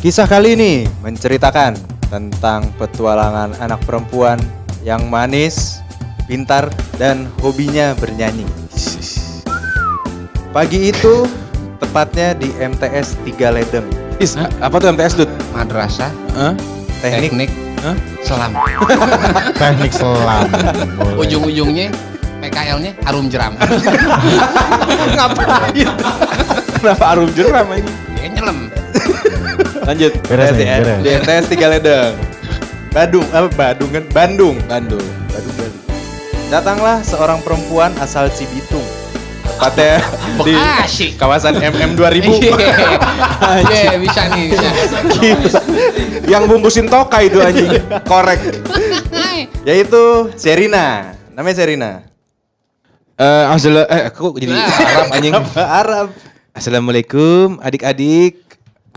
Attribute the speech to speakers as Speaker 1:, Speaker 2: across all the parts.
Speaker 1: Kisah kali ini menceritakan tentang petualangan anak perempuan yang manis, pintar, dan hobinya bernyanyi. Pagi itu, tepatnya di MTS 3 Ledeng,
Speaker 2: Is, apa tuh MTS, Dut?
Speaker 3: madrasah
Speaker 2: Hah?
Speaker 1: teknik,
Speaker 3: teknik
Speaker 2: Hah?
Speaker 3: selam
Speaker 4: teknik selam Boleh.
Speaker 3: ujung-ujungnya PKL-nya harum jeram
Speaker 2: Ngapain? Kenapa arum jeram ini?
Speaker 3: ya nyelam
Speaker 2: Lanjut.
Speaker 4: Beres nih,
Speaker 1: MTS,
Speaker 4: beres.
Speaker 1: ya. di MTS 3 Ledeng. Badung, apa Badung kan? Bandung.
Speaker 2: Bandung.
Speaker 1: Badung, Bandung. Datanglah seorang perempuan asal Cibitung. Tepatnya di
Speaker 3: Bekasi.
Speaker 1: kawasan MM 2000.
Speaker 2: Iya.
Speaker 3: iya bisa nih bisa
Speaker 2: Gila. Yang bungkusin tokai itu anjing. Korek.
Speaker 1: Yaitu Serina. Namanya Serina.
Speaker 2: Eh, Assala- eh aku jadi
Speaker 3: Nah.
Speaker 2: Arab anjing.
Speaker 1: Apa Arab?
Speaker 2: Assalamualaikum adik-adik,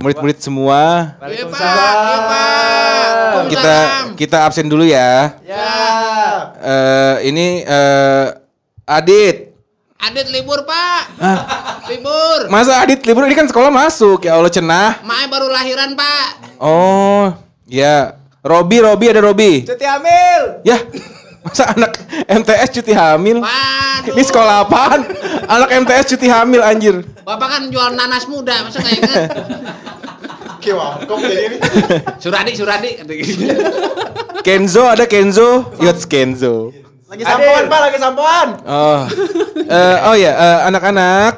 Speaker 2: murid-murid semua.
Speaker 3: Iya, Pak.
Speaker 2: Kita kita absen dulu ya.
Speaker 1: Ya.
Speaker 2: Eh ini eh Adit.
Speaker 3: Adit libur pak libur
Speaker 2: Masa Adit libur ini kan sekolah masuk. Ya Allah cenah.
Speaker 3: Mae baru lahiran pak
Speaker 2: Oh, ya. Robi, Robi ada Robi.
Speaker 1: Cuti hamil.
Speaker 2: Ya. Masa anak MTS cuti hamil?
Speaker 3: Waduh
Speaker 2: Ini sekolah apaan? Anak MTS cuti hamil anjir.
Speaker 3: Bapak kan jual nanas muda masa nggak ingat Suradi Suradi kata gitu.
Speaker 2: Kenzo ada Kenzo. Yots Kenzo.
Speaker 1: Lagi sampoan, Pak, lagi sampoan.
Speaker 2: Oh. Eh, oh ya, eh, anak-anak,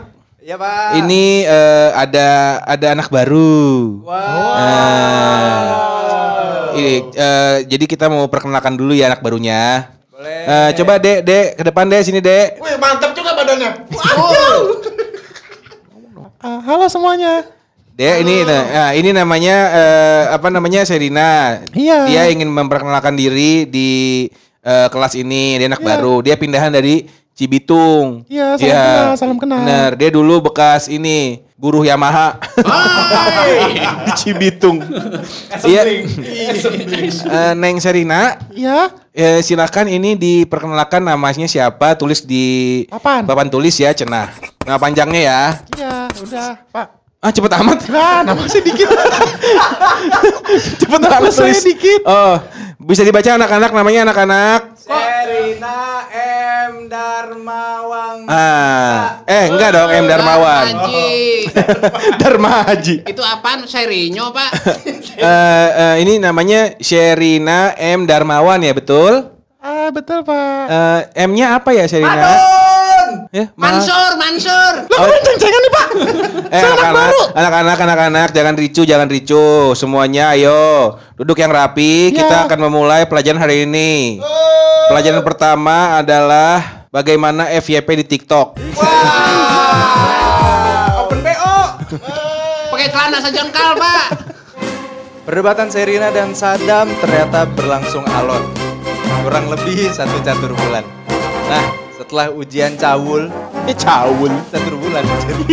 Speaker 1: Iya, Pak.
Speaker 2: ini eh, ada ada anak baru. Eh, ini, eh, jadi kita mau perkenalkan dulu ya anak barunya.
Speaker 1: Boleh.
Speaker 2: Eh, coba Dek, Dek, ke depan Dek, sini Dek.
Speaker 5: Wih, mantap juga badannya.
Speaker 4: Ah, halo semuanya
Speaker 2: Dia ini nah, ini namanya eh, apa namanya Serina.
Speaker 4: Iya.
Speaker 2: Dia ingin memperkenalkan diri di eh, kelas ini. Dia anak baru. Dia pindahan dari Cibitung.
Speaker 4: Iya, salam
Speaker 2: Iya.
Speaker 4: kenal, salam kenal.
Speaker 2: Benar. Dia dulu bekas ini buruh Yamaha di Cibitung. Iya. Eh, Neng Serina,
Speaker 4: ya
Speaker 2: eh, silakan ini diperkenalkan namanya siapa, tulis di
Speaker 4: Papan.
Speaker 2: tulis ya, cenah. Nah, panjangnya ya.
Speaker 4: iya udah pak
Speaker 2: Ah, cepet amat.
Speaker 4: Nah, nama saya dikit.
Speaker 2: Cepet
Speaker 4: Nama
Speaker 2: amat
Speaker 4: saya
Speaker 2: tulis.
Speaker 4: dikit.
Speaker 2: Oh, bisa dibaca anak-anak namanya anak-anak.
Speaker 1: Serina M Darmawang.
Speaker 2: Ah, eh enggak dong M Darmawan.
Speaker 3: Haji.
Speaker 2: Dharma Haji.
Speaker 3: Itu apaan? Serinyo pak
Speaker 2: Eh eh, ini namanya Sherina M Darmawan ya betul?
Speaker 4: Ah, betul, Pak.
Speaker 2: Eh M-nya apa ya Sherina?
Speaker 1: Adon.
Speaker 2: Ya, ma-
Speaker 3: Mansur Mansur
Speaker 4: Lah, ini ceng-cengan nih, Pak.
Speaker 2: Eh anak-anak, anak-anak, anak-anak, jangan ricu, jangan ricu. Semuanya ayo duduk yang rapi. Kita
Speaker 4: Ya.
Speaker 2: akan memulai pelajaran hari ini. Pelajaran pertama adalah bagaimana FYP di TikTok.
Speaker 1: Open PO.
Speaker 3: Pakai celana sejengkal pak
Speaker 1: Perdebatan Serina dan Sadam ternyata berlangsung alot. Kurang lebih satu catur bulan. Nah, setelah ujian cawul, eh,
Speaker 2: Ini cawul.
Speaker 1: catur bulan jadi.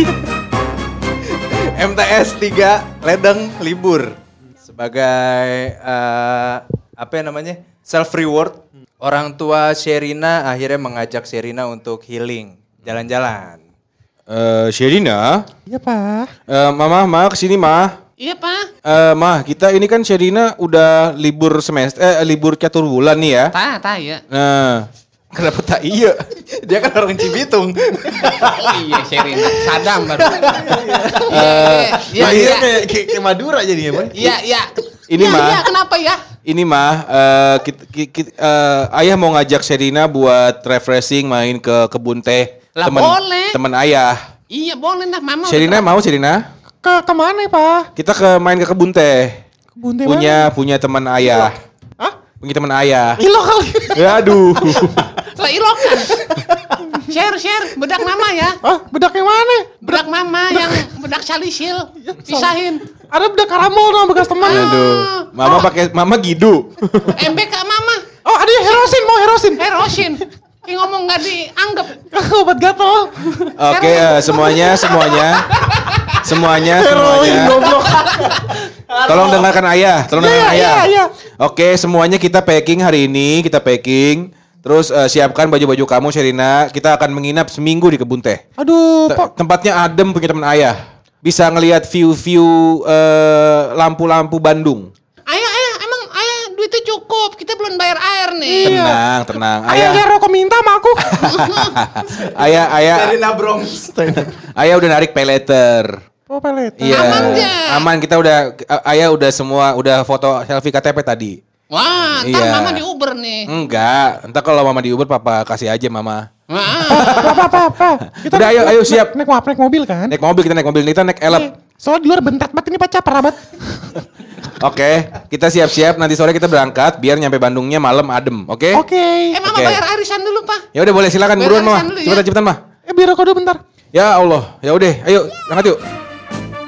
Speaker 1: MTS 3 Ledeng libur sebagai eh, apa ya namanya? self reward. Orang tua Sherina akhirnya mengajak Sherina untuk healing, jalan-jalan.
Speaker 2: Eh Sherina,
Speaker 4: Iya, Pak.
Speaker 2: eh mama, ma kesini ma.
Speaker 3: Iya pak
Speaker 2: Eh mah, kita ini kan Sherina udah libur semester, eh libur catur bulan nih ya.
Speaker 3: Ta, ta ya
Speaker 2: Nah, kenapa tak iya?
Speaker 1: Dia kan orang Cibitung.
Speaker 3: Oh iya Sherina Sadam baru Iya
Speaker 4: Iya,
Speaker 3: iya
Speaker 4: kayak kayak- kayak Madura jadinya, Pak.
Speaker 3: Iya iya
Speaker 2: Eh, Ini,
Speaker 3: Iya,
Speaker 2: Ma.
Speaker 3: Iya kenapa ya
Speaker 2: Ini mah, eh kit- ki- ki- eh, ayah mau ngajak Sherina buat refreshing main ke kebun teh.
Speaker 3: Lah,
Speaker 2: temen,
Speaker 3: boleh.
Speaker 2: Temen ayah.
Speaker 3: Iya boleh lah mama udah
Speaker 2: Sherina mau Sherina?
Speaker 4: Ke kemana, Pak?
Speaker 2: Kita ke main ke kebun teh.
Speaker 4: Ke Bunte
Speaker 2: punya punya teman ayah.
Speaker 3: Iya.
Speaker 4: Hah?
Speaker 2: Punya teman ayah.
Speaker 4: Ilo kali.
Speaker 2: Ya, aduh.
Speaker 3: Lah ilokan Share share Bedak mama ya
Speaker 4: Ah, bedak yang mana?
Speaker 3: Bedak mama yang Bedak salisil Pisahin
Speaker 4: Ada bedak karamel dong bekas teman.
Speaker 2: aduh. Mama pakai mama gidu.
Speaker 3: MBK mama
Speaker 4: Oh, ada yang herosin, mau herosin.
Speaker 2: Eh.
Speaker 3: Erosin Ini ngomong gak dianggap
Speaker 4: Obat
Speaker 2: Oh,
Speaker 4: gatel.
Speaker 2: Oke, eh, semuanya, semuanya, semuanya,
Speaker 4: Heroin
Speaker 2: semuanya.
Speaker 4: goblok.
Speaker 2: Tolong dengarkan ayah, tolong
Speaker 4: Iya,
Speaker 2: dengarkan
Speaker 4: iya,
Speaker 2: ayah.
Speaker 4: iya, iya.
Speaker 2: Oke, semuanya kita packing hari ini, kita packing. Terus eh, siapkan baju-baju kamu, Sherina. Kita akan menginap seminggu di kebun teh.
Speaker 4: Aduh,
Speaker 2: Te-
Speaker 4: Pak.
Speaker 2: Tempatnya adem punya teman ayah. bisa ngelihat view-view eh, lampu-lampu Bandung.
Speaker 6: Ayah, ayah, emang ayah duitnya cukup. Kita belum bayar air nih.
Speaker 4: Iya.
Speaker 2: Tenang, tenang.
Speaker 4: Ayah
Speaker 2: Ayah,
Speaker 4: yang rokok minta sama aku.
Speaker 2: ayah, ayah,
Speaker 7: nabrong.
Speaker 2: ayah udah narik pay later.
Speaker 4: Oh pelet.
Speaker 2: Iya.
Speaker 6: Aman nggak?
Speaker 2: Aman kita udah ayah udah semua udah foto selfie KTP tadi.
Speaker 6: Wah, ntar
Speaker 2: Iya.
Speaker 6: mama di Uber nih.
Speaker 2: Enggak, entar kalau mama di Uber papa kasih aja mama.
Speaker 6: Wah,
Speaker 4: Apa apa apa. apa.
Speaker 2: Udah, ayo, ayo,
Speaker 4: naik-
Speaker 2: siap.
Speaker 4: Naik, naik, naik mobil kan?
Speaker 2: Naik mobil kita naik mobil Nita naik
Speaker 6: Eh.
Speaker 4: Iya.
Speaker 2: elep.
Speaker 4: Soalnya di luar bentat banget ini pacar parah banget.
Speaker 2: Oke, kita siap-siap nanti sore kita berangkat biar nyampe Bandungnya malam adem, oke?
Speaker 4: Oke.
Speaker 6: eh mama
Speaker 2: Oke.
Speaker 6: bayar arisan dulu pak.
Speaker 2: Ya udah boleh silakan
Speaker 6: Biar
Speaker 2: buruan
Speaker 6: arisan
Speaker 2: mama.
Speaker 6: dulu ya.
Speaker 2: Cepetan cepetan mah.
Speaker 4: Eh biar rokok dulu bentar.
Speaker 2: Ya Allah, ya udah, ayo angkat yuk.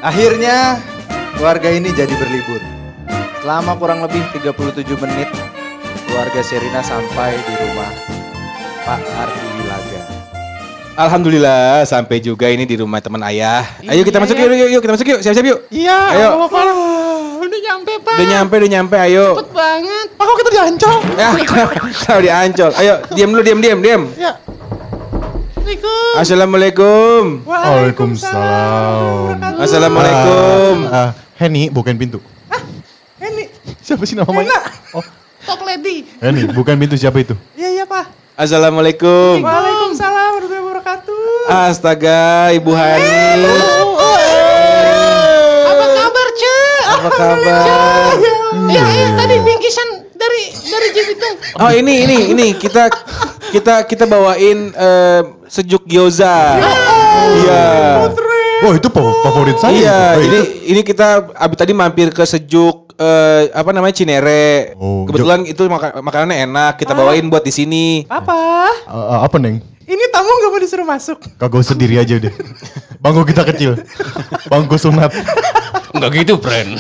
Speaker 7: Akhirnya keluarga ini jadi berlibur. Selama kurang lebih 37 menit keluarga Serina sampai di rumah Pak Ardi Wilaga.
Speaker 2: Alhamdulillah sampai juga ini di rumah teman ayah. Ayo kita
Speaker 4: Iya,
Speaker 2: masuk
Speaker 4: iya.
Speaker 2: yuk, yuk, yuk kita masuk yuk, siap-siap yuk.
Speaker 4: Iya.
Speaker 2: Ayo.
Speaker 4: Allah, parah.
Speaker 6: Udah nyampe pak.
Speaker 2: Udah nyampe, udah nyampe, ayo.
Speaker 6: Cepet banget. Oh,
Speaker 4: Aku Oh, kita diancol.
Speaker 2: Ya, kalau di Ancol. Ayo, diam dulu, diam, diam, diam.
Speaker 4: Ya.
Speaker 6: Assalamualaikum.
Speaker 2: Assalamualaikum.
Speaker 4: Waalaikumsalam.
Speaker 2: Assalamualaikum.
Speaker 1: Ah, ah, Henny, bukain pintu.
Speaker 4: Ini.
Speaker 1: Siapa sih namanya? Oh,
Speaker 6: Top lady.
Speaker 1: Henny, bukain pintu siapa itu?
Speaker 4: Iya iya pak.
Speaker 2: Assalamualaikum.
Speaker 4: Waalaikumsalam warahmatullahi wabarakatuh.
Speaker 2: Astaga, Ibu Hani.
Speaker 6: Apa kabar cek?
Speaker 2: Apa kabar?
Speaker 6: Eh, eh, tadi
Speaker 1: Iya,
Speaker 6: bingkisan dari dari Jepitung.
Speaker 2: Oh, ini ini ini kita kita kita bawain eh, sejuk gyoza. Iya.
Speaker 1: Oh, itu fa- favorit saya.
Speaker 2: Iya,
Speaker 1: itu. Eh,
Speaker 2: ini
Speaker 1: itu-
Speaker 2: ini kita abis tadi mampir ke sejuk eh, apa namanya Cinere.
Speaker 1: Oh,
Speaker 2: Kebetulan itu maka- makanannya enak, kita bawain buat di sini.
Speaker 4: Papa,
Speaker 1: Ah, ah, apa, Neng?
Speaker 4: ini tamu nggak mau disuruh masuk.
Speaker 1: Kagak usah diri aja deh. Bangku kita kecil. Bangku sunat.
Speaker 3: Enggak gitu, friend.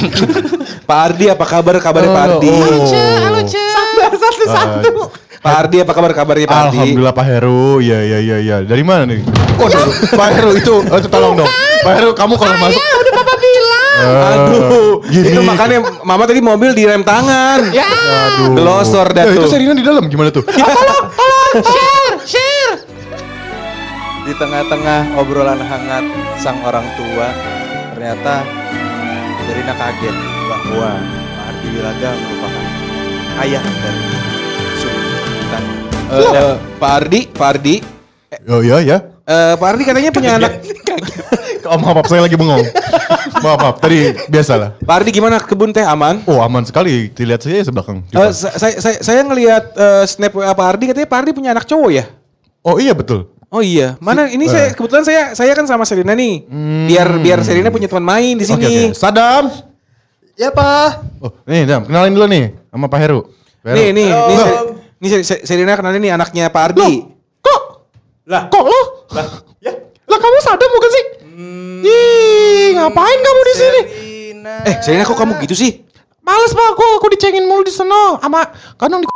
Speaker 2: Pak Ardi apa kabar? Kabarnya Pak Ardi.
Speaker 1: Oh, oh.
Speaker 6: Cek, halo cek.
Speaker 4: Sabar satu-satu.
Speaker 2: Pak Ardi apa kabar? Kabarnya Pak Ardi.
Speaker 1: Alhamdulillah Pak Heru. Iya, iya, iya, iya. Dari mana nih? Pak Heru itu, oh, itu tolong dong. Pak Heru, kamu kalau masuk.
Speaker 6: Ya, udah papa bilang.
Speaker 1: Ah,
Speaker 2: Aduh,
Speaker 1: gini.
Speaker 2: itu makanya mama tadi mobil direm tangan.
Speaker 6: Ya,
Speaker 1: Aduh.
Speaker 2: Glosor dah
Speaker 1: Ya, itu
Speaker 2: tuh.
Speaker 1: Serina di dalam gimana tuh?
Speaker 6: share, share.
Speaker 7: Di tengah-tengah obrolan hangat sang orang tua, ternyata Serina kaget bahwa Pak Ardi Wilaga merupakan ayah dari Sultan.
Speaker 2: Eh, eh, Pak Ardi, Pak Ardi.
Speaker 1: Oh iya, iya.
Speaker 2: Eh, Pak Ardi katanya punya anak.
Speaker 1: Oh, maaf, maaf, saya lagi bengong. maaf, maaf, tadi biasalah.
Speaker 2: Pak Ardi gimana kebun teh aman?
Speaker 1: Oh, aman sekali. Dilihat saya ya belakang.
Speaker 2: Eh, sa- saya saya saya ngelihat eh, snap WA Pak Ardi katanya Pak Ardi punya anak cowok ya?
Speaker 1: oh iya, betul.
Speaker 2: Oh iya, mana ini
Speaker 1: eh.
Speaker 2: saya kebetulan saya saya kan sama Serina nih. Biar biar Serina punya teman main di sini.
Speaker 1: Hmm.
Speaker 2: Iya,
Speaker 1: Oke, oke. Sadam.
Speaker 7: Ya Pak.
Speaker 1: Oh, nih Dam, kenalin dulu nih sama Pak Heru. Pak Heru.
Speaker 2: Nih nih nih,
Speaker 7: Halo.
Speaker 2: Se- nih Se- Se- Serina kenalin nih anaknya Pak Ardi.
Speaker 7: Lah,
Speaker 4: Kok lo? Lah ya. Hmm. kamu sadar bukan sih? Ih, ngapain kamu di sini?
Speaker 7: Serina.
Speaker 2: Eh Serina kok kamu gitu sih?
Speaker 4: Males pak aku, aku dicengin mulu di sono sama kadang di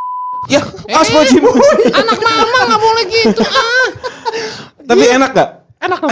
Speaker 2: Ya, astagfirullah.
Speaker 6: Anak mama nggak boleh gitu ah.
Speaker 2: Tapi
Speaker 4: Iya.
Speaker 2: enak gak?
Speaker 4: enak dong.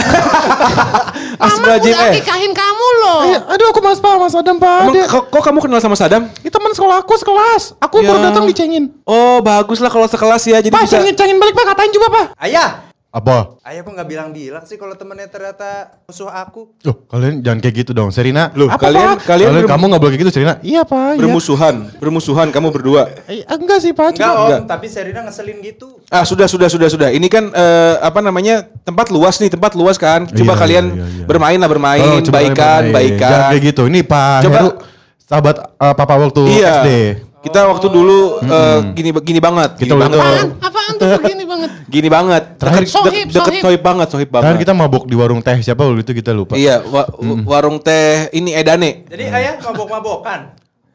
Speaker 6: Mama
Speaker 2: Astagfirullah.
Speaker 6: udah
Speaker 2: eh.
Speaker 6: nikahin kamu loh.
Speaker 4: Iya, Aduh aku mas pak, mas Adam pak.
Speaker 2: Emang
Speaker 4: Dia,
Speaker 2: kok, kok kamu kenal sama Sadam?
Speaker 4: dia teman sekolah aku sekelas. Aku baru
Speaker 2: Ya.
Speaker 4: datang dicengin.
Speaker 2: Oh bagus lah kalau sekelas ya jadi
Speaker 4: Pak,
Speaker 2: bisa.
Speaker 4: cengin, cengin balik pak, katain juga pak.
Speaker 7: Ayah.
Speaker 1: Apa?
Speaker 7: Ayah kok nggak bilang-bilang sih kalau temennya ternyata musuh aku.
Speaker 4: Oh,
Speaker 1: Loh, kalian jangan kayak gitu dong. Serina, lu.
Speaker 4: Apa,
Speaker 2: kalian
Speaker 4: Pak?
Speaker 2: kalian,
Speaker 1: kalian
Speaker 2: ber-
Speaker 1: kamu nggak boleh kayak gitu, Serina.
Speaker 4: Iya pak, iya.
Speaker 2: bermusuhan, bermusuhan kamu berdua.
Speaker 4: Eh, enggak sih pak,
Speaker 7: Enggak
Speaker 4: cuma
Speaker 7: om,
Speaker 2: Enggak.
Speaker 7: tapi Serina ngeselin gitu.
Speaker 2: Ah sudah sudah sudah sudah. Ini kan eh, apa namanya tempat luas nih tempat luas kan. Coba
Speaker 1: Iya,
Speaker 2: kalian
Speaker 1: iya, iya.
Speaker 2: bermain lah bermain,
Speaker 1: Tolong, coba kalian
Speaker 2: baikan
Speaker 1: bermain.
Speaker 2: baikan.
Speaker 1: Jangan kayak gitu. Ini Pak
Speaker 2: Coba-
Speaker 1: Heru, sahabat eh, Papa waktu
Speaker 2: Iya.
Speaker 1: SD.
Speaker 2: Kita waktu dulu eh, gini gini banget, gini
Speaker 1: Kita
Speaker 2: banget,
Speaker 1: waktu-
Speaker 6: Apaan, apaan tuh begini banget?
Speaker 2: gini banget.
Speaker 1: Terakhir-
Speaker 2: Deket- deket-
Speaker 6: Sohib,
Speaker 2: deket
Speaker 6: sohib.
Speaker 2: sohib banget, sohib banget.
Speaker 1: Kan kita mabok di warung teh siapa waktu itu kita lupa.
Speaker 2: Iya, wa- warung teh ini Edane.
Speaker 7: Jadi
Speaker 4: Hmm.
Speaker 7: ayah mabok-mabokan.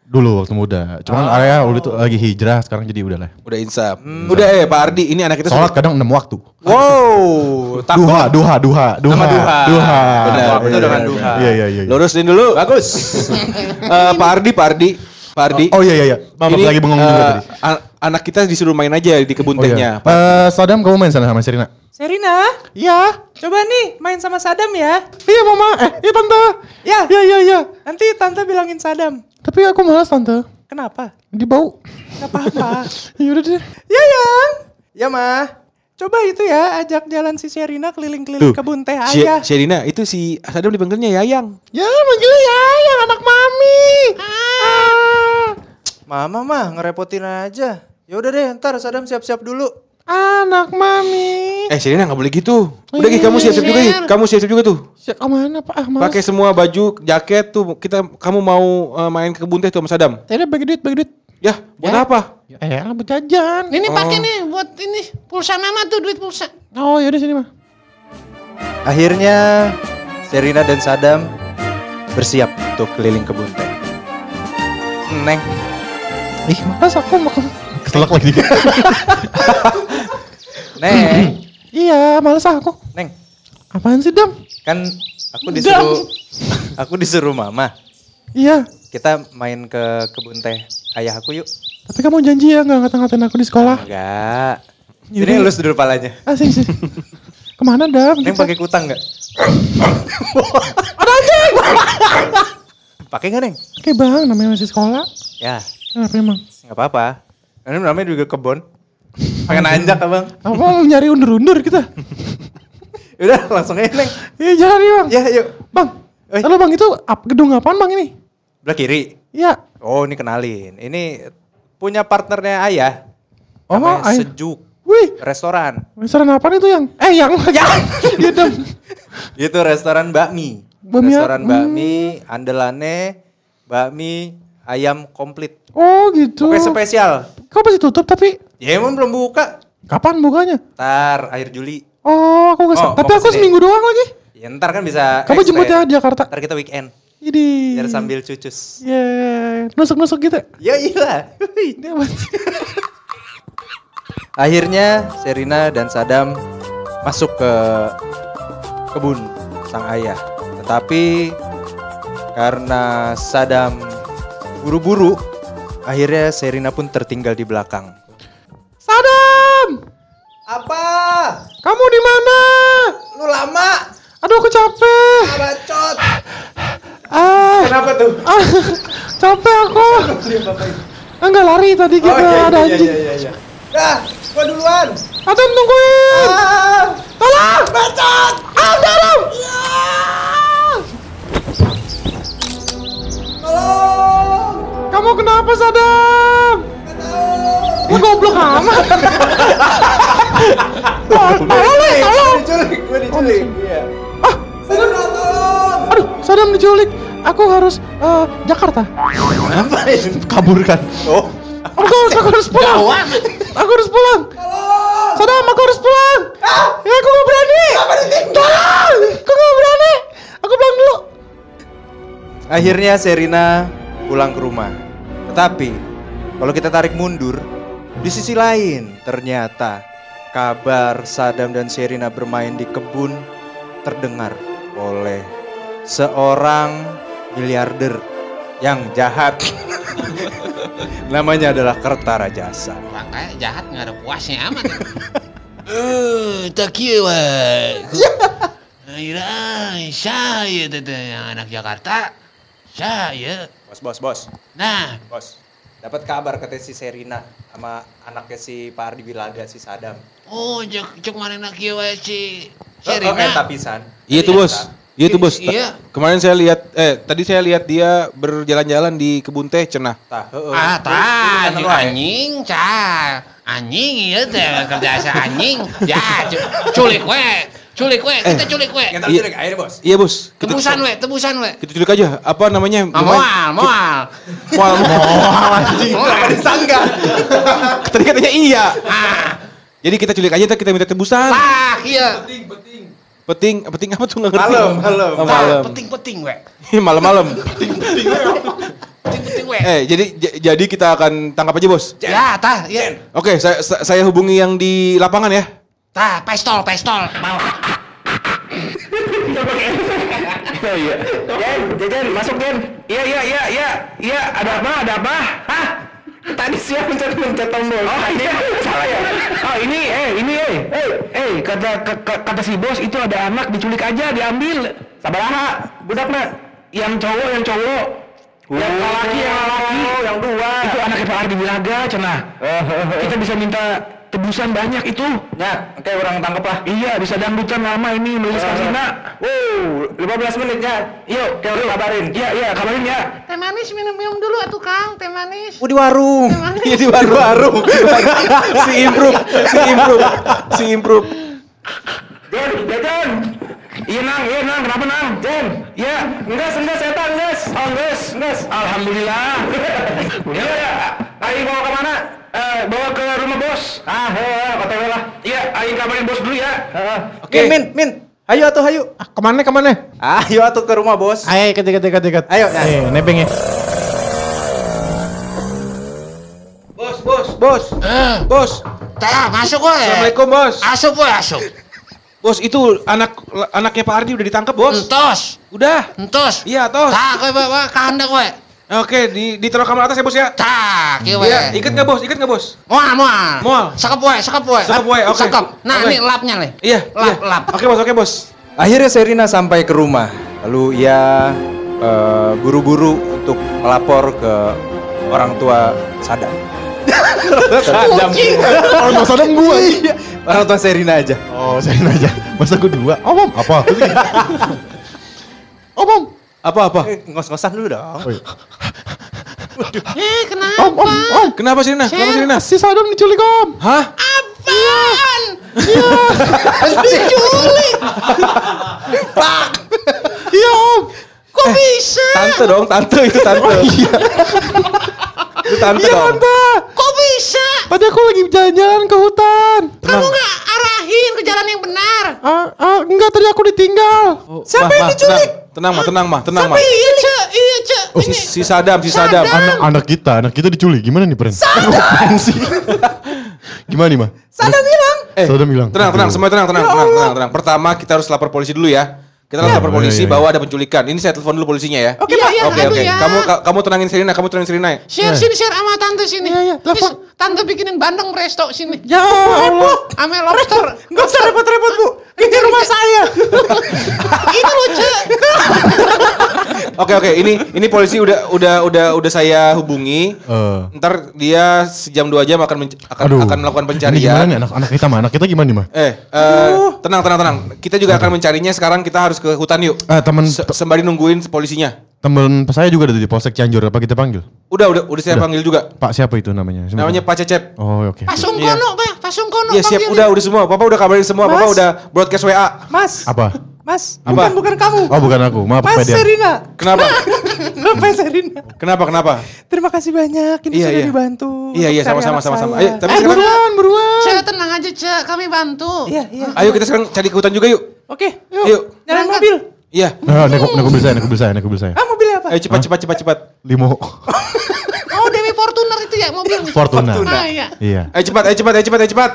Speaker 1: Dulu waktu muda. Cuman
Speaker 2: Ah.
Speaker 1: area waktu itu lagi hijrah, sekarang jadi udah lah.
Speaker 2: Udah insaf. Udah eh Pak Ardi, ini anak kita
Speaker 1: Sholat kadang enam waktu.
Speaker 2: Wow, takut.
Speaker 1: Duha, duha, duha, duha,
Speaker 7: Sama duha.
Speaker 1: duha.
Speaker 2: Benar,
Speaker 1: Iya,
Speaker 2: benar,
Speaker 1: iya,
Speaker 7: dengan
Speaker 1: iya.
Speaker 7: duha.
Speaker 1: Iya, iya, iya.
Speaker 2: Lurusin dulu.
Speaker 7: Bagus.
Speaker 2: Eh, Pak Ardi, Pak Ardi, Pak Ardi.
Speaker 1: Oh iya iya iya. Maaf
Speaker 2: Ini,
Speaker 1: lagi bengong juga
Speaker 2: eh,
Speaker 1: tadi.
Speaker 2: an- anak kita disuruh main aja di kebun
Speaker 1: Oh iya.
Speaker 2: tehnya. Pak.
Speaker 1: Eh, Sadam kamu main sana sama Serina.
Speaker 8: Serina,
Speaker 4: Iya.
Speaker 8: coba nih main sama Sadam ya.
Speaker 4: Iya mama, eh iya tante.
Speaker 8: Ya.
Speaker 4: Iya, iya, iya.
Speaker 8: Nanti tante bilangin Sadam.
Speaker 4: Tapi Iya, aku malas tante.
Speaker 8: Kenapa?
Speaker 4: Dibau.
Speaker 8: Gak apa-apa.
Speaker 4: Ya udah deh.
Speaker 8: ya yang.
Speaker 7: ya mah.
Speaker 8: Coba itu ya ajak jalan si Sherina keliling-keliling
Speaker 2: Tuh,
Speaker 8: kebun teh
Speaker 2: Si-
Speaker 8: ayah.
Speaker 2: Sherina, itu si Sadam dipanggilnya Yayang.
Speaker 4: Ya manggilnya ya yang anak mami. Ah.
Speaker 7: Mama mah ngerepotin aja. Ya udah deh, ntar Sadam siap-siap dulu.
Speaker 4: Ah, Anak mami.
Speaker 2: Eh Sherina nggak boleh gitu. Udah Gi, kamu siap-siap juga Gi. Kamu siap-siap juga tuh.
Speaker 4: Siap ke mana Pak? Ah, males.
Speaker 2: Pakai semua baju, jaket tuh. Kita kamu mau eh, main ke kebun teh tuh sama Sadam.
Speaker 4: Tadi Ya bagi duit, bagi duit.
Speaker 2: Yah, buat
Speaker 4: Ya.
Speaker 2: apa?
Speaker 4: Ya, eh, lah buat jajan.
Speaker 6: Ini pakai
Speaker 2: Oh.
Speaker 6: nih buat ini pulsa mama tuh duit pulsa.
Speaker 4: Oh, yaudah sini, mah.
Speaker 7: Akhirnya Serina dan Sadam bersiap untuk keliling kebun teh. Neng,
Speaker 4: Ih, males aku makan.
Speaker 1: Keselak lagi.
Speaker 7: neng,
Speaker 4: Iya, males ah aku.
Speaker 7: neng.
Speaker 4: Apaan sih, Dam?
Speaker 7: Kan aku disuruh aku disuruh mama.
Speaker 4: Iya,
Speaker 7: Kita main ke kebun teh ayah aku yuk.
Speaker 4: tapi kamu janji ya nggak ngata-ngatain aku di sekolah.
Speaker 7: Enggak.
Speaker 4: Yaudah.
Speaker 7: Ini elus dulu palanya.
Speaker 4: Asik sih. Kemana, Dam?
Speaker 7: Neng pakai kutang nggak? Pakai nggak neng?
Speaker 4: Oke, Bang, namanya masih sekolah.
Speaker 7: Ya,
Speaker 4: Kenapa emang?
Speaker 7: nggak apa-apa. Ini namanya juga kebun. Pakai nanjak abang.
Speaker 4: Apa mau nyari undur-undur kita?
Speaker 7: Udah langsung aja neng.
Speaker 4: Iya, jalan nih, Bang.
Speaker 7: Ya yuk.
Speaker 4: Bang,
Speaker 7: Eh.
Speaker 4: halo Bang, itu ap- gedung apaan, Bang, ini?
Speaker 7: Belah kiri.
Speaker 4: Iya.
Speaker 7: Oh ini kenalin. Ini punya partnernya ayah.
Speaker 4: Oh,
Speaker 7: Namanya
Speaker 4: ayah.
Speaker 7: Sejuk.
Speaker 4: Wih,
Speaker 7: Restoran.
Speaker 4: restoran apaan itu yang? Eh, yang. Iya, Dam.
Speaker 7: Itu restoran bakmi.
Speaker 4: Bakmi ya?
Speaker 7: restoran bakmi, andalannya bakmi ayam komplit.
Speaker 4: Oh, gitu.
Speaker 7: Pokoknya spesial.
Speaker 4: Kau pasti tutup tapi
Speaker 7: Ya emang belum buka.
Speaker 4: kapan bukanya?
Speaker 7: Ntar akhir Juli.
Speaker 4: Oh, aku
Speaker 7: Oh,
Speaker 4: kesana. tapi
Speaker 7: mau
Speaker 4: aku
Speaker 7: kesini.
Speaker 4: seminggu doang lagi.
Speaker 7: Ya ntar kan bisa
Speaker 4: Kamu jemput ya
Speaker 7: expert.
Speaker 4: di Jakarta.
Speaker 7: Ntar kita weekend
Speaker 4: Jadi.
Speaker 7: Biar sambil cucus
Speaker 4: Yeah, nusuk-nusuk gitu.
Speaker 7: Ya iya
Speaker 4: Ini apa sih?
Speaker 7: Akhirnya Serina dan Sadam masuk ke kebun sang ayah Tetapi karena Sadam buru-buru Akhirnya Serina pun tertinggal di belakang
Speaker 4: Sadam,
Speaker 7: Apa?
Speaker 4: kamu di mana?
Speaker 7: Lu lama?
Speaker 4: Aduh, aku capek.
Speaker 7: Bacot
Speaker 4: Ah,
Speaker 7: Kenapa tuh?
Speaker 4: ah, capek aku. Enggak lari tadi kita ada anjing.
Speaker 7: Oh, iya Dah, gua duluan
Speaker 4: Adam tungguin.
Speaker 7: Ah,
Speaker 4: Ah. Tolong! Ah, Bacot! Adam!
Speaker 7: Iya.
Speaker 4: Tolong! Kamu kenapa, Sadam? Lu goblok amat. Tol- Tolong, Le, tolong.
Speaker 7: Diculik, gua diculik Iya
Speaker 4: Ah, Sadam. Aduh, Sadam diculik. Aku harus eh, Jakarta.
Speaker 7: Ngapain?
Speaker 1: Kaburkan.
Speaker 7: Oh,
Speaker 4: Aku harus, aku harus pulang. Aku harus pulang. Sadam, aku harus pulang.
Speaker 8: Ah.
Speaker 4: Ya, aku gak berani. Tolong! Aku gak berani. Aku pulang dulu.
Speaker 7: Akhirnya Serina pulang ke rumah. Tetapi kalau kita tarik mundur, di sisi lain ternyata kabar Sadam dan Serina bermain di kebun terdengar oleh seorang miliarder yang jahat. Namanya adalah Kertarajasa.
Speaker 6: Makanya jahat nggak ada puasnya amat.
Speaker 3: Eh, tak kira.
Speaker 2: Iya.
Speaker 3: Ayolah, saya teteh yang anak Jakarta. Saya.
Speaker 7: Bos, bos, bos,
Speaker 3: Nah,
Speaker 7: bos. Dapat kabar katanya si Serina sama anaknya si Pak Ardi Wilaga si Sadam.
Speaker 3: oh cek cek mana nak kira si
Speaker 2: Oh,
Speaker 7: Serina?
Speaker 3: Serena.
Speaker 7: pisan.
Speaker 2: Iya tuh bos. Iya tuh bos. Ta-
Speaker 3: Iya.
Speaker 2: Kemarin saya lihat, eh tadi saya lihat dia berjalan-jalan di kebun teh cenah.
Speaker 7: Tah,
Speaker 2: oh,
Speaker 7: heeh.
Speaker 3: Ah, tah, si
Speaker 7: Tulisan lu, eh.
Speaker 3: anjing, cah. Anjing iya teh kerja si anjing. Ya, cu- culik we. Culik we, kita culik we.
Speaker 7: Kita
Speaker 2: Iya.
Speaker 7: culik air bos.
Speaker 2: Iya bos. Eh, Kita,
Speaker 3: Tebusan we, tebusan we.
Speaker 2: kita culik aja. Apa namanya?
Speaker 3: Ah, Moal, moal.
Speaker 2: Mual.
Speaker 3: Moal.
Speaker 7: Oh, Disangka.
Speaker 2: Tadi katanya iya.
Speaker 3: Ah,
Speaker 2: Jadi kita culik aja, ntar kita minta tebusan.
Speaker 3: tah, iya.
Speaker 2: Peting, peting apa tuh nggak ngerti.
Speaker 7: Malam, malam.
Speaker 2: Oh,
Speaker 3: Tah,
Speaker 2: malam.
Speaker 3: penting-penting we.
Speaker 2: Ih, Malam-malam.
Speaker 3: Penting-penting we.
Speaker 2: eh, jadi j- jadi kita akan tangkap aja bos.
Speaker 3: Ya, tah, iya.
Speaker 2: Oke, saya sa- saya hubungi yang di lapangan ya.
Speaker 3: Tah, pistol, pistol. Mau.
Speaker 9: Jen, Jajan, masuk Jen. Iya, iya, iya, iya. Iya, ada apa? Ada apa? Hah? Tadi siap mencet-mencet tombol. Oh, iya. Salah ya. Oh, ini, eh, ini, eh. Eh, eh, kata k- k- kata si bos itu ada anak diculik aja, diambil. Sabaraha, budak nak. Yang cowok, yang cowok. Yang oh, Oh. laki, yang laki. yang dua. Itu anaknya Pak Ardi Bilaga, cenah. Kita bisa minta tebusan banyak itu. Ya, oke orang tangkap lah. Oh, Iya, bisa dangdutan lama ini nulis kasina. Wow, 15 menit ya. Yuk, kayak orang kabarin. Iya, iya, kabarin ya.
Speaker 6: Teh manis minum-minum dulu atuh Kang, teh manis.
Speaker 7: Oh di warung.
Speaker 6: Teh manis.
Speaker 7: Iya di warung. si improve, si improve, si improve.
Speaker 9: Jen, jajan. Iya nang, iya nang, kenapa nang? Jen, iya, enggas, enggas, eta enggas. Oh enggas, enggas. Alhamdulillah. Iya ya, Aing mau kemana? Eh, bawa ke rumah bos. Ah, ya, ya, OTW lah. Iya, Aing kabarin bos dulu ya. Heeh.
Speaker 7: Min, min, min. Ayo atuh hayu.
Speaker 4: Ah, kemana kemana?
Speaker 7: Ayo atuh ke rumah bos.
Speaker 4: Ayo ikat ikat ikat ikat.
Speaker 7: Ayo, nah.
Speaker 4: Eh, nebeng ya.
Speaker 2: Bos, bos, bos.
Speaker 3: Eh,
Speaker 2: Bos.
Speaker 3: tara masuk gue.
Speaker 2: Assalamualaikum, Bos.
Speaker 3: Asup gue asup.
Speaker 2: Bos, itu anak anaknya Pak Ardi udah ditangkap, Bos.
Speaker 3: Entos,
Speaker 2: Udah.
Speaker 3: entos.
Speaker 2: Iya, tos.
Speaker 3: Tak gue bawa ke anda gue.
Speaker 2: Oke, di ditaruh kamar atas ya, Bos ya.
Speaker 3: Tak, gue.
Speaker 2: Iya, ikat nggak Bos? Ikat nggak Bos?
Speaker 3: Mual, mual.
Speaker 2: Mual.
Speaker 3: Sekep gue, sekep gue.
Speaker 2: Sekep we, oke.
Speaker 3: Sekep. Nah,
Speaker 2: Oke.
Speaker 3: ini lapnya nih.
Speaker 2: Iya,
Speaker 3: Lap,
Speaker 2: iya.
Speaker 3: lap.
Speaker 2: Oke, Bos, oke, Bos.
Speaker 7: Akhirnya Serina sampai ke rumah. Lalu ia eh, buru-buru untuk melapor ke orang tua Sadam.
Speaker 1: Orang bahasa dong gue.
Speaker 7: Iya. Orang tua Serina aja.
Speaker 1: Oh, saya aja. Masa gue dua? Oh, Om, apa? Terus kayak,
Speaker 4: Oh, Bom.
Speaker 2: Apa apa?
Speaker 7: Eh, Ngos-ngosan dulu dong.
Speaker 1: oh, iya.
Speaker 6: Eh, kenapa?
Speaker 4: Om, om, om.
Speaker 2: Kenapa Serina? Kenapa Serina?
Speaker 4: Si Sadam diculik, Om.
Speaker 2: Hah?
Speaker 6: Apaan? Iya. Diculik.
Speaker 4: Iya, Om.
Speaker 6: Kok bisa?
Speaker 7: Tante dong, tante itu tante. Iya. itu tante
Speaker 4: Iya,
Speaker 7: dong.
Speaker 4: Tante.
Speaker 6: Kok bisa?
Speaker 4: Tadi aku lagi jalan-jalan ke hutan.
Speaker 6: Kamu nggak arahin ke jalan yang benar.
Speaker 4: Ah, ah, enggak tadi aku ditinggal.
Speaker 1: Oh.
Speaker 2: Siapa yang diculik? Tenang, mah, tenang, mah, tenang, mah. Oh,
Speaker 6: Tapi iya, Cek. Iya, Cek.
Speaker 2: Si, si Sadam, si Sadam.
Speaker 1: Anak, anak kita, anak kita diculik. Gimana nih, Pren? Apaan sih? Gimana nih, Mah?
Speaker 7: Sadam bilang.
Speaker 2: Eh,
Speaker 1: Sadam hilang.
Speaker 2: Tenang, tenang,
Speaker 1: Aduh.
Speaker 2: semua tenang, tenang, tenang, tenang, tenang. Pertama kita harus lapor polisi dulu ya. Kita harus
Speaker 1: Ya.
Speaker 2: lapor
Speaker 1: Oh, iya,
Speaker 2: polisi
Speaker 1: iya, iya.
Speaker 2: bahwa ada penculikan. Ini saya telepon dulu polisinya ya.
Speaker 6: Oke, Pak. Iya,
Speaker 2: Oke,
Speaker 6: aduh
Speaker 2: oke.
Speaker 6: ya.
Speaker 2: Kamu ka- kamu tenangin Serina, kamu tenangin Serina ya.
Speaker 6: Share sini, share sama tante sini.
Speaker 4: Iya, iya, telepon.
Speaker 6: Nis, Tante bikinin bandeng resto sini.
Speaker 4: Ya Allah.
Speaker 6: Ame lobster.
Speaker 4: Enggak usah repot-repot, Bu. Ini rumah saya.
Speaker 6: Itu loh, Cek.
Speaker 2: Oke, oke. Ini ini polisi udah udah udah udah saya hubungi.
Speaker 1: Eh.
Speaker 2: Ntar dia sejam dua jam akan menc- akan,
Speaker 1: Aduh.
Speaker 2: akan melakukan
Speaker 1: Ini gimana ya? nih
Speaker 2: pencarian.
Speaker 1: anak, anak kita, Mah? Anak kita gimana nih, Mah?
Speaker 2: Eh, eh, tenang, tenang, tenang. Kita juga akan mencarinya. Sekarang kita harus ke hutan yuk.
Speaker 1: Eh, temen,
Speaker 2: Se- Sembari nungguin polisinya.
Speaker 1: temen saya juga ada di Polsek Cianjur. Apa kita panggil?
Speaker 2: Udah, udah, udah saya panggil juga.
Speaker 1: Pak siapa itu namanya? Siapa?
Speaker 2: Namanya Pak Cecep.
Speaker 1: Oh, oke.
Speaker 6: Pak Sungkono, Pak. Pak Sungkono.
Speaker 2: Iya siap,
Speaker 6: panggilin.
Speaker 2: udah udah semua. Papa udah kabarin semua. Papa
Speaker 8: Mas?
Speaker 2: udah broadcast WA.
Speaker 8: Mas,
Speaker 1: Apa?
Speaker 8: mas,
Speaker 2: Apa?
Speaker 8: bukan bukan kamu.
Speaker 1: Oh, bukan aku. Maaf,
Speaker 8: Mas
Speaker 1: Pak Dian.
Speaker 8: Serina.
Speaker 2: Kenapa?
Speaker 8: Kenapa Serina?
Speaker 2: kenapa? Kenapa?
Speaker 8: Terima kasih banyak. Ini
Speaker 2: Iya,
Speaker 8: sudah
Speaker 2: iya.
Speaker 8: dibantu.
Speaker 2: Iya iya
Speaker 8: untuk cari
Speaker 2: sama-sama
Speaker 8: anak
Speaker 2: sama-sama.
Speaker 8: saya.
Speaker 2: Ayo, tapi
Speaker 4: Eh,
Speaker 2: sekarang
Speaker 4: buruan, buruan.
Speaker 6: Cek, tenang aja, Cek. Kami bantu.
Speaker 8: Iya, iya.
Speaker 2: ayo kita sekarang cari ke hutan juga yuk.
Speaker 8: Oke, yuk.
Speaker 2: Yuk.
Speaker 8: Nyalain
Speaker 6: Berangkat.
Speaker 8: mobil.
Speaker 2: Iya.
Speaker 1: Nah, naik, naik mobil saya, naik mobil saya, naik mobil saya.
Speaker 8: Ah, mobilnya apa?
Speaker 2: Ayo cepat cepat cepat cepat.
Speaker 1: ya. Limo
Speaker 6: Oh, Dewi Fortuner itu ya mobilnya.
Speaker 1: Fortuna.
Speaker 6: Ah, iya.
Speaker 1: Iya.
Speaker 2: Ayo cepat, ayo cepat, ayo cepat, ayo cepat.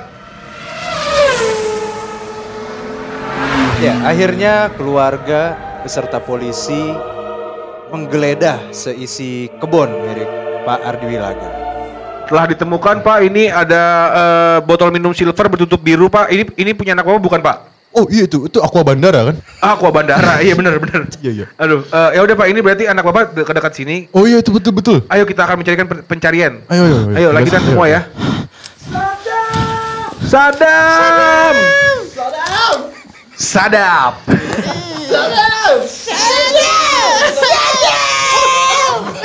Speaker 7: Ya, akhirnya keluarga beserta polisi menggeledah seisi kebun milik Pak Ardi Wilaga.
Speaker 2: Telah ditemukan Pak, ini ada eh, botol minum silver bertutup biru Pak. Ini ini punya anak Bapak bukan Pak?
Speaker 1: Oh iya itu, itu Aqua Bandara kan?
Speaker 2: Ah, Aqua Bandara. iya benar benar.
Speaker 1: Iya, iya.
Speaker 2: Aduh, eh, ya udah Pak, ini berarti anak Bapak de- dekat sini.
Speaker 1: Oh iya itu betul betul.
Speaker 2: Ayo kita akan mencarikan pe- pencarian.
Speaker 1: Ayo, ayo, ayo.
Speaker 2: Ayo lanjutkan
Speaker 1: Ayo,
Speaker 2: semua
Speaker 1: ayo.
Speaker 2: ya. Sadam. Sadam.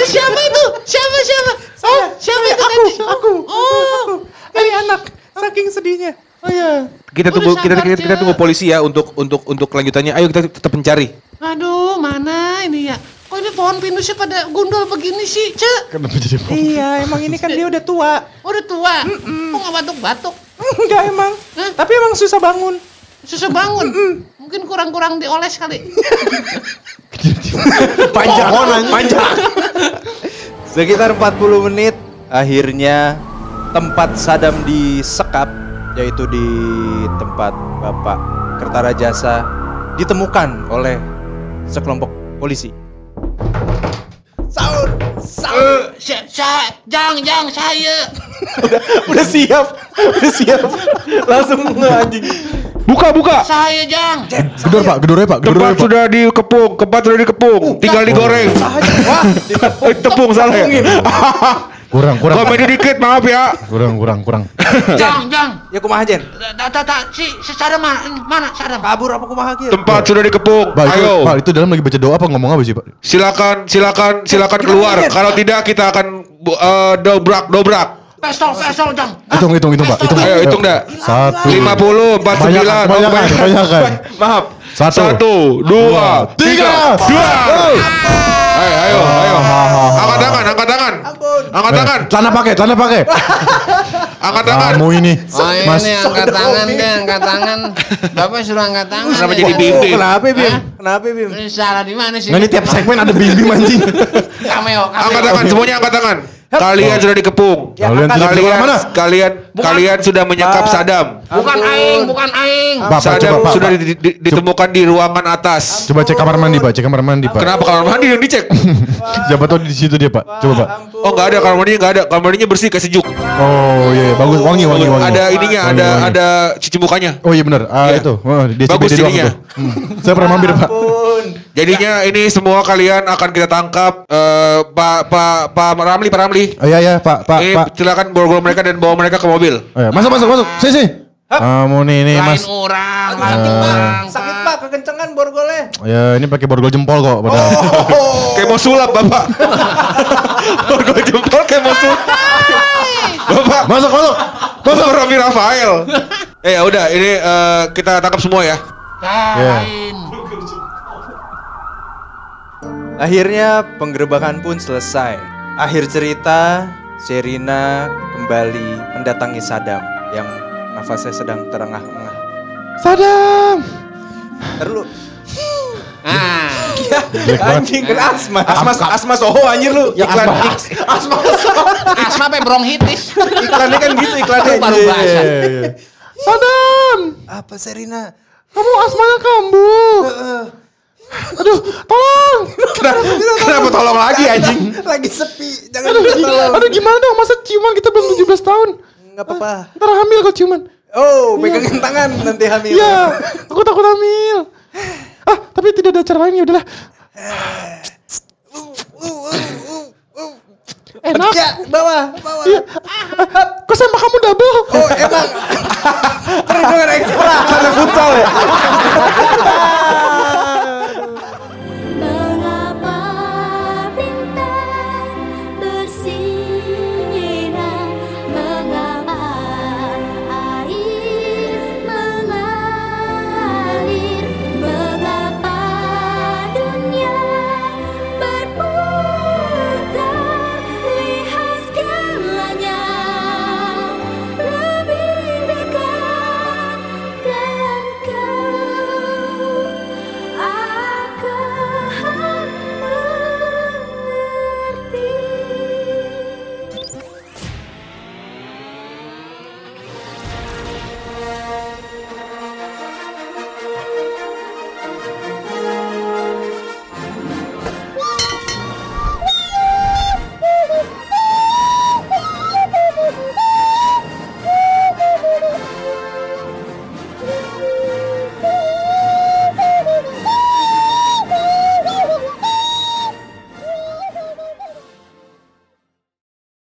Speaker 6: Siapa itu? Siapa siapa? Oh, siapa itu tadi?
Speaker 8: Aku.
Speaker 6: Oh.
Speaker 8: Aku. Ini anak. Saking sedihnya.
Speaker 4: Oh iya.
Speaker 2: Kita
Speaker 6: Udah
Speaker 2: tunggu kita,
Speaker 6: sabar,
Speaker 2: kita, kita
Speaker 6: Cuk.
Speaker 2: tunggu polisi ya untuk untuk untuk kelanjutannya. Ayo kita tetap mencari.
Speaker 6: Aduh, mana ini ya? Kok ini pohon pinusnya pada gundul begini sih, Cek? oh,
Speaker 1: Kenapa Kan jadi
Speaker 8: Iya, emang ini kan dia udah tua.
Speaker 6: Udah tua. Kok nggak batuk-batuk?
Speaker 8: Enggak emang.
Speaker 6: Hah?
Speaker 3: Eh,
Speaker 8: Tapi emang susah bangun.
Speaker 6: Susu bangun. Mungkin kurang-kurang dioles kali.
Speaker 7: panjang panjang Oh, sekitar 40 menit akhirnya tempat Sadam disekap yaitu di tempat Bapak Kertarajasa ditemukan oleh sekelompok polisi
Speaker 3: Eh, saya, saya, jang, jang, saya.
Speaker 7: udah siap udah siap langsung anjing
Speaker 2: Buka buka.
Speaker 3: Saya, jang.
Speaker 1: Gedor Pak, gedornya Pak, gedornya Pak.
Speaker 2: sudah dikepung, kepat sudah dikepung, tinggal digoreng.
Speaker 7: Wah,
Speaker 2: Eh, Tepung salah ya.
Speaker 1: Kurang, kurang.
Speaker 2: Komedi dikit maaf ya.
Speaker 1: Kurang, kurang, kurang.
Speaker 3: Jang, jang.
Speaker 7: Ya kumaha Jen?
Speaker 3: Tak, tak, tak. Si, si Sarah mana? Mana Sarah?
Speaker 7: Kabur apa kumaha kieu?
Speaker 2: Tempat sudah dikepung.
Speaker 1: Pak, itu, Pak,
Speaker 2: Ayo.
Speaker 1: itu dalam lagi baca doa apa ngomong apa sih, Pak?
Speaker 2: Silakan, silakan, silakan keluar. Kalau tidak kita akan bu- eh, dobrak, dobrak.
Speaker 3: Pestol, pestol, jang.
Speaker 1: Hitung, hitung, hitung, Pak. Hitung.
Speaker 2: Ayo, hitung dah.
Speaker 1: Satu.
Speaker 7: Hmm.
Speaker 2: 50, 49,
Speaker 1: Kebanyakan, kebanyakan,
Speaker 2: oh,
Speaker 1: kebanyakan.
Speaker 2: Maaf.
Speaker 1: Satu.
Speaker 2: dua,
Speaker 1: Tiga. Eh,
Speaker 2: tiga, dua. Ayo, ayo, ayo. Angkat tangan, angkat tangan. Angkat tangan,
Speaker 1: Celana pakai, celana pakai.
Speaker 7: Eh.
Speaker 2: angkat tangan.
Speaker 1: Kamu ini.
Speaker 3: Oh ini
Speaker 1: Mas,
Speaker 3: angkat tangan deh, angkat tangan. Bapak suruh angkat tangan.
Speaker 2: Kenapa
Speaker 3: ya.
Speaker 2: jadi bim? Bim-bim.
Speaker 7: Kenapa Bim?
Speaker 3: Hah?
Speaker 7: Kenapa Bim?
Speaker 3: Ini Sarah di mana sih?
Speaker 1: nah, ini tiap segmen ada bimbing mancing.
Speaker 3: Cameo,
Speaker 2: Angkat
Speaker 3: cameo.
Speaker 2: tangan, semuanya angkat tangan. Kalian sudah dikepung.
Speaker 1: Kalian
Speaker 7: angkat.
Speaker 1: sudah keluar
Speaker 2: Kalian,
Speaker 1: Ya. mana?
Speaker 2: kalian, kalian sudah menyekap Saddam.
Speaker 3: Bukan aing, bukan aing.
Speaker 1: Bapak,
Speaker 2: Saddam
Speaker 1: coba, Pak.
Speaker 2: sudah di- di- ditemukan di ruangan atas.
Speaker 1: Coba cek kamar mandi, Pak. Cek kamar mandi, Pak.
Speaker 2: Kenapa kamar mandi yang dicek?
Speaker 1: Siapa tahu di situ dia, Pak. Coba, Pak.
Speaker 7: Ya
Speaker 2: Oh nggak ada kamar mandinya nggak ada kamar mandinya bersih kayak sejuk.
Speaker 1: Oh, iya, iya. bagus. Wangi, wangi, wangi.
Speaker 2: Ada ininya
Speaker 1: Wangi,
Speaker 2: ada
Speaker 1: wangi.
Speaker 2: ada cuci mukanya.
Speaker 1: Oh iya benar. Ah
Speaker 2: Iya.
Speaker 1: itu. Oh, di
Speaker 2: Bagus
Speaker 1: CBD doang
Speaker 2: jadinya.
Speaker 1: itu. Hmm. Saya pernah mampir, Pak.
Speaker 7: Ampun.
Speaker 2: Jadinya
Speaker 1: Ya.
Speaker 2: ini semua kalian akan kita tangkap eh, Pak Pak Pak Ramli Pak Ramli.
Speaker 1: Oh, iya iya, Pak, Pak,
Speaker 2: Eh,
Speaker 1: Pak.
Speaker 2: silakan borgol mereka dan bawa mereka ke mobil.
Speaker 1: Oh, iya. Masuk, masuk, masuk. Sini, sini. Kamu nih nih, Mas.
Speaker 3: Lain orang, lain orang.
Speaker 7: Sakit Pak, kekencengan borgolnya.
Speaker 1: Ya, ini pakai borgol jempol kok padahal.
Speaker 2: Oh.
Speaker 1: Oh.
Speaker 2: Kayak mau sulap Bapak. borgol jempol kayak mau sulap. Bapak
Speaker 1: Masuk, masuk.
Speaker 2: Bapak Ramli Rafael. Eh ya udah ini eh, kita tangkap semua ya.
Speaker 1: Iya.
Speaker 3: Lain.
Speaker 7: Akhirnya penggerebakan pun selesai. Akhir cerita, Sherina kembali mendatangi Sadam yang nafasnya sedang terengah-engah.
Speaker 4: Sadam.
Speaker 7: Terlu
Speaker 3: Ah,
Speaker 7: anjing kan asma.
Speaker 2: Asma Ya, Asma Soho anjir lu. Iklan
Speaker 3: asma apa bronkitis?
Speaker 2: iklannya kan gitu iklannya.
Speaker 3: Baru bahasa.
Speaker 1: Iya, iya.
Speaker 4: Sadam.
Speaker 7: Apa Eh. Sherina?
Speaker 4: Kamu asmanya kambuh. Aduh, tolong.
Speaker 2: Kenapa, kenapa tolong lagi anjing?
Speaker 7: Lagi sepi, jangan
Speaker 4: Iya, Aduh,
Speaker 7: tolong.
Speaker 4: aduh gimana dong masa ciuman kita belum 17 tahun.
Speaker 7: Enggak apa-apa.
Speaker 4: Ntar hamil kok ciuman.
Speaker 7: Oh, pegangin tangan nanti hamil.
Speaker 4: Iya, aku takut hamil. Ah, tapi tidak ada cara lain ya udahlah. Enak.
Speaker 7: Ya, bawah, bawah.
Speaker 4: Iya. Ah, ah, Kok sama kamu double?
Speaker 7: Oh, emang. Perlindungan ekstra.
Speaker 2: Karena futsal ya.